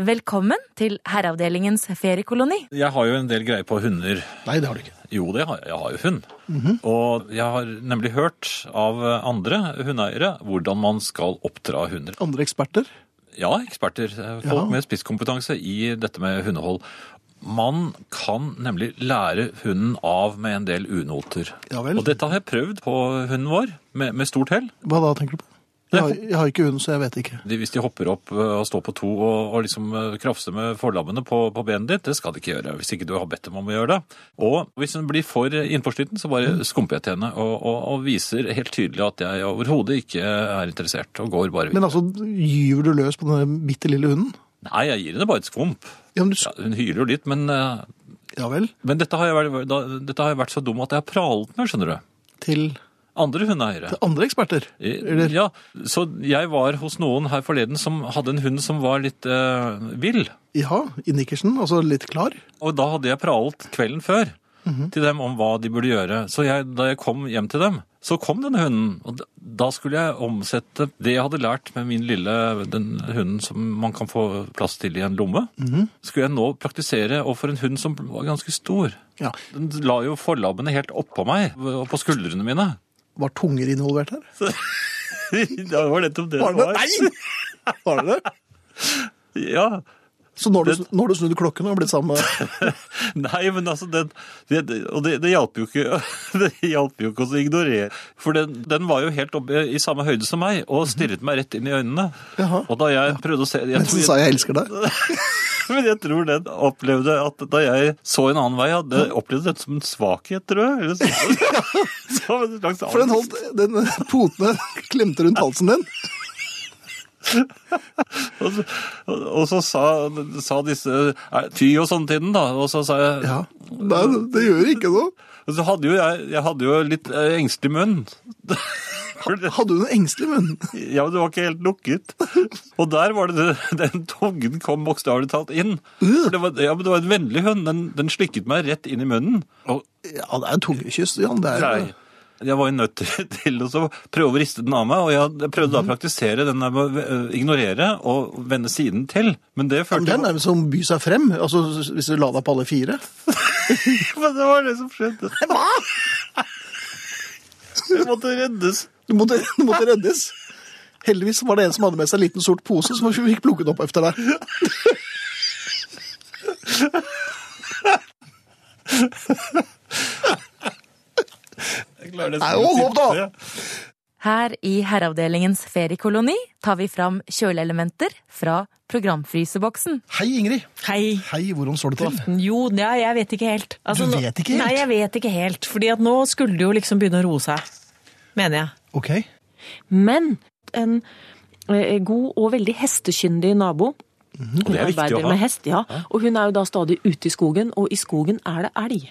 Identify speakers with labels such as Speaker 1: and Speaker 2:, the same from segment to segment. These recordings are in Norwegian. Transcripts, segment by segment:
Speaker 1: Velkommen til Herreavdelingens feriekoloni.
Speaker 2: Jeg har jo en del greie på hunder.
Speaker 3: Nei, det har du ikke.
Speaker 2: Jo, det har jeg. Jeg har jo hund.
Speaker 3: Mhm.
Speaker 2: Og jeg har nemlig hørt av andre hundeeiere hvordan man skal oppdra hunder.
Speaker 3: Andre eksperter?
Speaker 2: Ja, eksperter. eh, Folk
Speaker 3: Ja.
Speaker 2: med spisskompetanse i dette med hundehold. Man kan nemlig lære hunden av med en del unoter.
Speaker 3: Ja vel.
Speaker 2: Og dette har jeg prøvd på hunden vår, med, med stort hell.
Speaker 3: Hva da, tenker du på? Jeg har, jeg har ikke hund, så jeg vet ikke.
Speaker 2: De- Hvis de hopper opp eh, og står på to og, og liksom eh, krafser med forlammene på, på benet ditt, det skal de ikke gjøre hvis ikke du har bedt dem om å gjøre det. Og hvis hun blir for innforstyrrende, så bare skumper jeg til henne og, og, og viser helt tydelig at jeg overhodet ikke er interessert og går bare videre.
Speaker 3: Men altså, gyver du løs på denne bitte lille hunden?
Speaker 2: Nei, jeg gir henne bare et skvump.
Speaker 3: Ja, men du,
Speaker 2: Ja, hun hyler jo litt, men eh,
Speaker 3: ja vel.
Speaker 2: Men dette har, jeg vært, da, dette har jeg vært så dum at jeg har pralet med, skjønner du.
Speaker 3: Til
Speaker 2: Andre hundeeiere.
Speaker 3: andre eksperter? Eller
Speaker 2: Eh, Ja, så jeg var hos noen her forleden som hadde en hund som var litt eh, vill.
Speaker 3: ja, i nikkersen, altså litt klar?
Speaker 2: Og da hadde jeg pralet kvelden før til dem om hva de burde gjøre. Så jeg, da jeg kom hjem til dem, så kom denne hunden. Og d- da skulle jeg omsette det jeg hadde lært med min lille den hunden som man kan få plass til i en lomme. Skulle jeg nå praktisere overfor en hund som var ganske stor.
Speaker 3: Ja.
Speaker 2: Den la jo forlabbene helt oppå meg og på skuldrene mine.
Speaker 3: Var tunger involvert her?
Speaker 2: det var nettopp det
Speaker 3: Var det det? Nei! Var det det?
Speaker 2: Ja.
Speaker 3: Så nå har du, nå har du snudd klokken og blitt sammen med
Speaker 2: Nei, men altså den det, det- Og det, det hjalp jo ikke Det hjalp jo ikke å ignorere. For den, den var jo helt oppe i samme høyde som meg og stirret meg rett inn i øynene.
Speaker 3: Jaha.
Speaker 2: Og da jeg prøvde å se jeg
Speaker 3: Mens
Speaker 2: tror
Speaker 3: hun sa 'jeg elsker deg'?
Speaker 2: Men jeg tror den opplevde at da jeg så en annen vei, at det opplevde det som en svakhet, tror jeg. Eller så, som en slags
Speaker 3: For den,
Speaker 2: angst.
Speaker 3: holdt, den potene klemte rundt halsen din.
Speaker 2: Og så, og, og så sa, sa disse er, Ty og sånn til den, da. Og så sa jeg
Speaker 3: Ja. Nei, det gjør ikke noe.
Speaker 2: Og så hadde jo jeg, jeg hadde jo litt eh, engstelig munn. For det-
Speaker 3: Hadde hun en engstelig munn?
Speaker 2: ja, men det var ikke helt lukket. Og der var det det- den tungen kom bokstavelig talt inn. For det var, ja, men det var en vennlig hund. Den, den slikket meg rett inn i munnen. Og
Speaker 3: Ja, det er jo tungekyss, Jan. Det er,
Speaker 2: Nei. Jeg var jo nødt til- til å så prøve å riste den av meg, og jeg prøvde
Speaker 3: Mhm.
Speaker 2: da å praktisere den der med å eh, ignorere og vende siden til. Men det
Speaker 3: Men
Speaker 2: førte
Speaker 3: det er nærmest som by seg frem, altså hvis du la deg på alle fire.
Speaker 2: Men det var det som skjedde. Hva? Jeg måtte reddes.
Speaker 3: Du måtte, du måtte reddes. Heldigvis var det en som hadde med seg en liten sort pose, som vi fikk plukket opp etter deg.
Speaker 2: Jeg klarer nesten
Speaker 3: Nei,
Speaker 2: ikke å
Speaker 3: hold opp da!
Speaker 2: tippe det.
Speaker 1: Her i Herreavdelingens feriekoloni tar vi fram kjøleelementer fra programfryseboksen.
Speaker 3: Hei, Ingrid.
Speaker 4: Hei.
Speaker 3: Hei, hvordan står det til?
Speaker 4: Jo, ja, jeg vet ikke helt. Altså,
Speaker 3: Du
Speaker 4: nå-
Speaker 3: vet ikke helt?
Speaker 4: Nei, jeg vet ikke helt. Fordi at nå skulle det jo liksom begynne å roe seg. Mener jeg.
Speaker 3: Ok.
Speaker 4: Men en eh, god og veldig hestekyndig nabo
Speaker 2: Og det er viktig å
Speaker 4: arbeider
Speaker 2: ha.
Speaker 4: med hest, ja. Og hun er jo da stadig ute i skogen, og i skogen er det elg.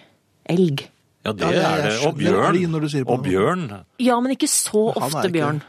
Speaker 4: Elg.
Speaker 2: Ja, det
Speaker 3: Ja, jeg-
Speaker 2: er
Speaker 3: jeg
Speaker 2: det. Og
Speaker 3: skjønner elg når du
Speaker 2: bjørn.
Speaker 3: sier det på
Speaker 2: Og
Speaker 3: den
Speaker 2: bjørn.
Speaker 4: Ja, men ikke så
Speaker 3: han er
Speaker 4: ofte,
Speaker 3: ikke-
Speaker 4: Bjørn.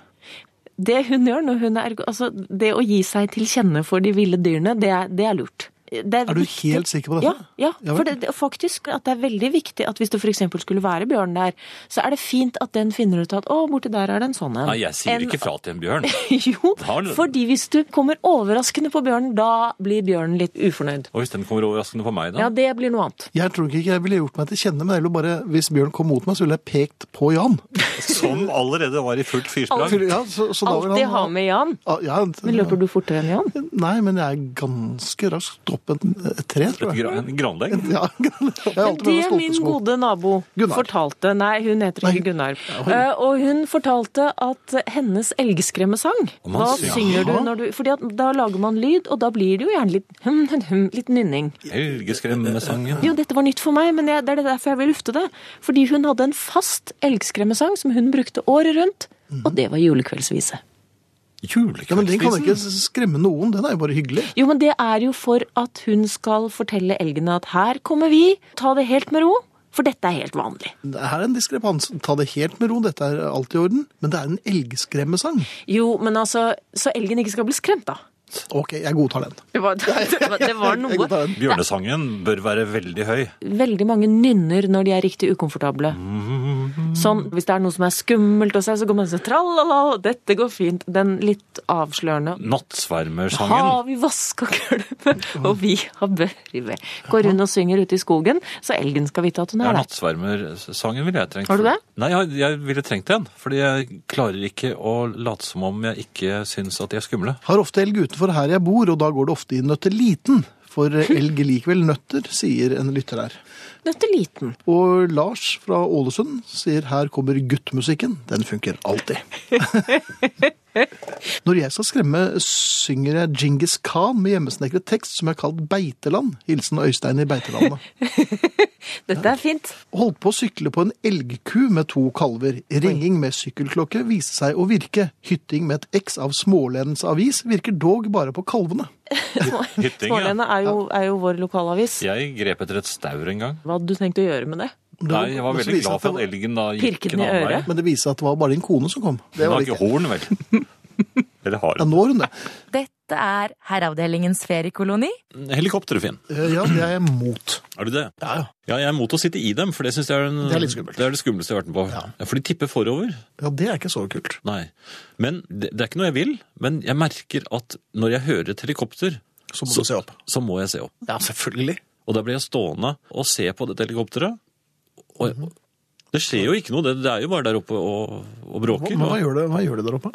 Speaker 4: Det hun gjør når hun er Altså, det å gi seg til kjenne for de ville dyrene, det er, det er lurt. Det
Speaker 3: Er du
Speaker 4: viktig-
Speaker 3: helt sikker på dette?
Speaker 4: Ja, ja,
Speaker 3: Ja vel.
Speaker 4: for det, det, faktisk at det er veldig viktig at hvis det f.eks. skulle være bjørn der, så er det fint at den finner ut at å, borti der er det en sånn en.
Speaker 2: Nei, jeg sier
Speaker 4: En-
Speaker 2: ikke fra til en bjørn.
Speaker 4: Jo,
Speaker 2: Har du-
Speaker 4: fordi hvis du kommer overraskende på bjørnen, da blir bjørnen litt ufornøyd.
Speaker 2: Og hvis den kommer overraskende på meg, da?
Speaker 4: Ja, det blir noe annet.
Speaker 3: Jeg tror ikke jeg ville gjort meg til kjenne, men heller bare, hvis Bjørn kom mot meg, så ville jeg pekt på Jan.
Speaker 2: Som allerede var i fullt fyrsprang.
Speaker 3: Ja, så, så da vil
Speaker 4: Alltid ha med Jan.
Speaker 3: Ja, Ja,
Speaker 4: Men løper du fortere enn Jan?
Speaker 3: Nei, men jeg er ganske raskt opp en et tre, tror jeg.
Speaker 2: Gra- En granlegg.
Speaker 3: Ja, jeg har alltid
Speaker 4: Det
Speaker 3: vært
Speaker 4: min
Speaker 3: stolpesko.
Speaker 4: gode nabo
Speaker 3: Gunnar.
Speaker 4: fortalte Nei, hun heter ikke Gunnar. Eh, og hun fortalte at hennes elgskremmesang
Speaker 2: Og man
Speaker 4: Da
Speaker 2: synger.
Speaker 4: synger du når du Fordi at da lager man lyd, og da blir det jo gjerne litt hum, hum, hum, litt nynning.
Speaker 2: Helgeskremmesangen.
Speaker 4: Jo, dette var nytt for meg, men jeg, det er derfor jeg vil lufte det. Fordi hun hadde en fast elgskremmesang som hun brukte året rundt, og det var julekveldsvise.
Speaker 3: Ja, men den kan jo
Speaker 2: Julekveldsvisen.
Speaker 3: ikke skremme noen, den er jo bare hyggelig.
Speaker 4: Jo, men det er jo for at hun skal fortelle elgene at her kommer vi, ta det helt med ro, for dette er helt vanlig.
Speaker 3: Det er en diskrepans. Ta det helt med ro, dette er alt i orden. Men det er en elgskremmesang.
Speaker 4: Jo, men altså, så elgen ikke skal bli skremt, da.
Speaker 3: Ok, jeg godtar den.
Speaker 4: Det var, det var, det var
Speaker 3: Jeg
Speaker 4: noe.
Speaker 3: godtar den.
Speaker 2: Bjørnesangen bør være veldig høy.
Speaker 4: Veldig mange nynner når de er riktig ukomfortable. Sånn, Hvis det er noe som er skummelt, og så, så går man sånn tralala, dette går fint. Den litt avslørende
Speaker 2: Nattsvermersangen.
Speaker 4: har vi vaska gulvet, og vi har børive. Går rundt og synger ute i skogen, så elgen skal vite at hun
Speaker 2: Det er
Speaker 4: er der.
Speaker 2: nattsvermersangen ville jeg trengt.
Speaker 4: Har du det?
Speaker 2: Nei, jeg, jeg ville trengt den. Fordi jeg klarer ikke å late som om jeg ikke syns at de er skumle.
Speaker 3: Har ofte elg utenfor her jeg bor, og da går det ofte i nøtteliten. For elg likevel nøtter, sier en lytter her.
Speaker 4: Nøtteliten.
Speaker 3: Og Lars fra Ålesund sier her kommer guttmusikken. Den funker alltid. Når jeg skal skremme, synger jeg Djingis Khan med hjemmesnekret tekst som jeg har kalt Beiteland. Hilsen Øystein i Beitelandet.
Speaker 4: Dette er fint.
Speaker 3: Holdt på å sykle på en elgku med to kalver. Ringing med sykkelklokke viste seg å virke. Hytting med et X av Smålens avis virker dog bare på kalvene.
Speaker 2: Hytting, ja.
Speaker 4: Smålene er, jo- er jo vår lokalavis.
Speaker 2: Jeg grep etter et staur en gang.
Speaker 4: Hva hadde du tenkt å gjøre med det?
Speaker 2: Nei, jeg var
Speaker 3: Men så
Speaker 2: veldig
Speaker 3: viser
Speaker 2: glad
Speaker 3: det
Speaker 2: for
Speaker 3: seg
Speaker 2: at elgen da gikk
Speaker 4: Pirket
Speaker 2: en
Speaker 4: den i
Speaker 2: annen vei.
Speaker 4: øret?
Speaker 3: Men det viser seg at det var bare din kone som kom. Det
Speaker 2: Hun
Speaker 3: var
Speaker 2: har ikke
Speaker 3: viktig.
Speaker 2: horn, vel? Eller har
Speaker 3: Ja,
Speaker 2: hun?
Speaker 3: nå har hun det.
Speaker 1: Dette er Herreavdelingens feriekoloni.
Speaker 2: Helikoptre, Finn.
Speaker 3: Eh, Ja, det er jeg mot.
Speaker 2: Er du det?
Speaker 3: Ja, ja.
Speaker 2: Ja, jeg er imot å sitte i dem, for det syns jeg er, den,
Speaker 3: Det er litt skummelt.
Speaker 2: det er det skumleste jeg har vært med på. Ja, For de tipper forover.
Speaker 3: Ja, det er ikke så kult.
Speaker 2: Nei. Men det, det er ikke noe jeg vil. Men jeg merker at når jeg hører et helikopter,
Speaker 3: Så må
Speaker 2: Så-
Speaker 3: du se opp.
Speaker 2: så må jeg se opp.
Speaker 3: Ja, selvfølgelig.
Speaker 2: Og da blir jeg stående og se på dette helikopteret. Og
Speaker 3: Mhm.
Speaker 2: det skjer jo ikke noe, det, det er jo bare der oppe og, og
Speaker 3: Hva,
Speaker 2: bråker.
Speaker 3: men hva
Speaker 2: Og
Speaker 3: gjør det, hva gjør det der oppe?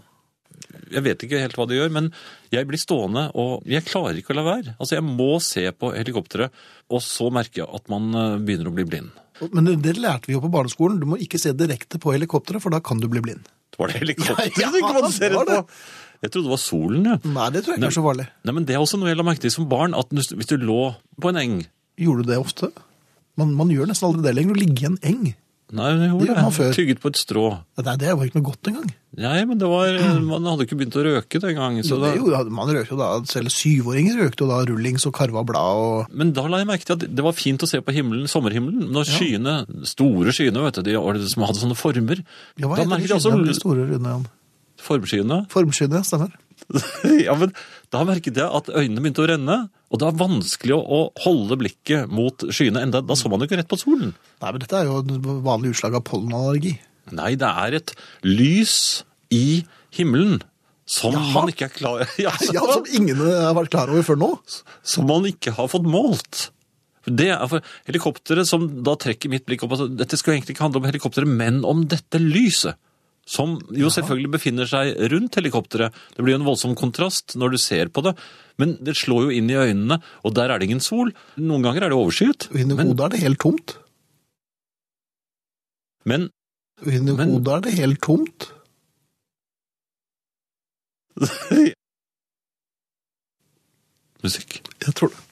Speaker 2: jeg vet ikke helt hva det gjør, men jeg blir stående og jeg klarer ikke å la være. Altså, jeg må se på helikopteret, og så merker jeg at man eh, begynner å bli blind.
Speaker 3: Men det- det lærte vi jo på barneskolen. Du må ikke se direkte på helikopteret, for da kan du bli blind.
Speaker 2: Det var det helikopteret
Speaker 3: Ja, ja,
Speaker 2: du ikke måtte se
Speaker 3: det var
Speaker 2: rett
Speaker 3: det.
Speaker 2: på? Jeg trodde det var solen, jeg.
Speaker 3: Nei, det tror jeg ikke er så farlig.
Speaker 2: Nei, men Det er også noe jeg la merke til som barn, at hvis du lå på en eng
Speaker 3: Gjorde du det ofte? Man, man gjør nesten aldri det lenger. Å ligge i en eng.
Speaker 2: Nei, det
Speaker 3: Det gjorde
Speaker 2: gjorde
Speaker 3: man før.
Speaker 2: jeg. Tygget på et strå.
Speaker 3: Nei, det var ikke noe godt engang.
Speaker 2: Nei, men det var, man hadde ikke begynt å røke den gangen. Så
Speaker 3: Jo,
Speaker 2: da,
Speaker 3: det er jo- man røkte jo da, selv syvåringer røkte jo da rullings og karva blad og
Speaker 2: men da la jeg merke til at det var fint å se på himmelen, sommerhimmelen. Når skyene, store skyene, vet du, de var det som hadde sånne former.
Speaker 3: ja, hva
Speaker 2: da
Speaker 3: heter de
Speaker 2: merket jeg
Speaker 3: skyene? De
Speaker 2: også
Speaker 3: store runde igjen?
Speaker 2: formskyene.
Speaker 3: Formskyene, stemmer.
Speaker 2: ja, men da merket jeg at øynene begynte å renne. Og det var vanskelig å, å holde blikket mot skyene enda. Da så man jo ikke rett på solen.
Speaker 3: Nei, men dette er jo et vanlig utslag av pollenallergi.
Speaker 2: Nei, det er et lys i himmelen som man ikke er klar ja,
Speaker 3: Ja, altså- som ingen har vært klar over før nå.
Speaker 2: Som man ikke har fått målt. Det er for helikopteret som da trekker mitt blikk opp. Altså, dette skal egentlig ikke handle om helikopteret, men om dette lyset. Som jo selvfølgelig befinner seg rundt helikopteret. Det blir jo en voldsom kontrast når du ser på det. Men det slår jo inn i øynene, og der er det ingen sol. Noen ganger er det overskyet.
Speaker 3: Og inni
Speaker 2: Men,
Speaker 3: hodet er det helt tomt.
Speaker 2: men
Speaker 3: Og inni
Speaker 2: Men-
Speaker 3: hodet er det helt tomt.
Speaker 2: Musikk.
Speaker 3: Jeg tror det.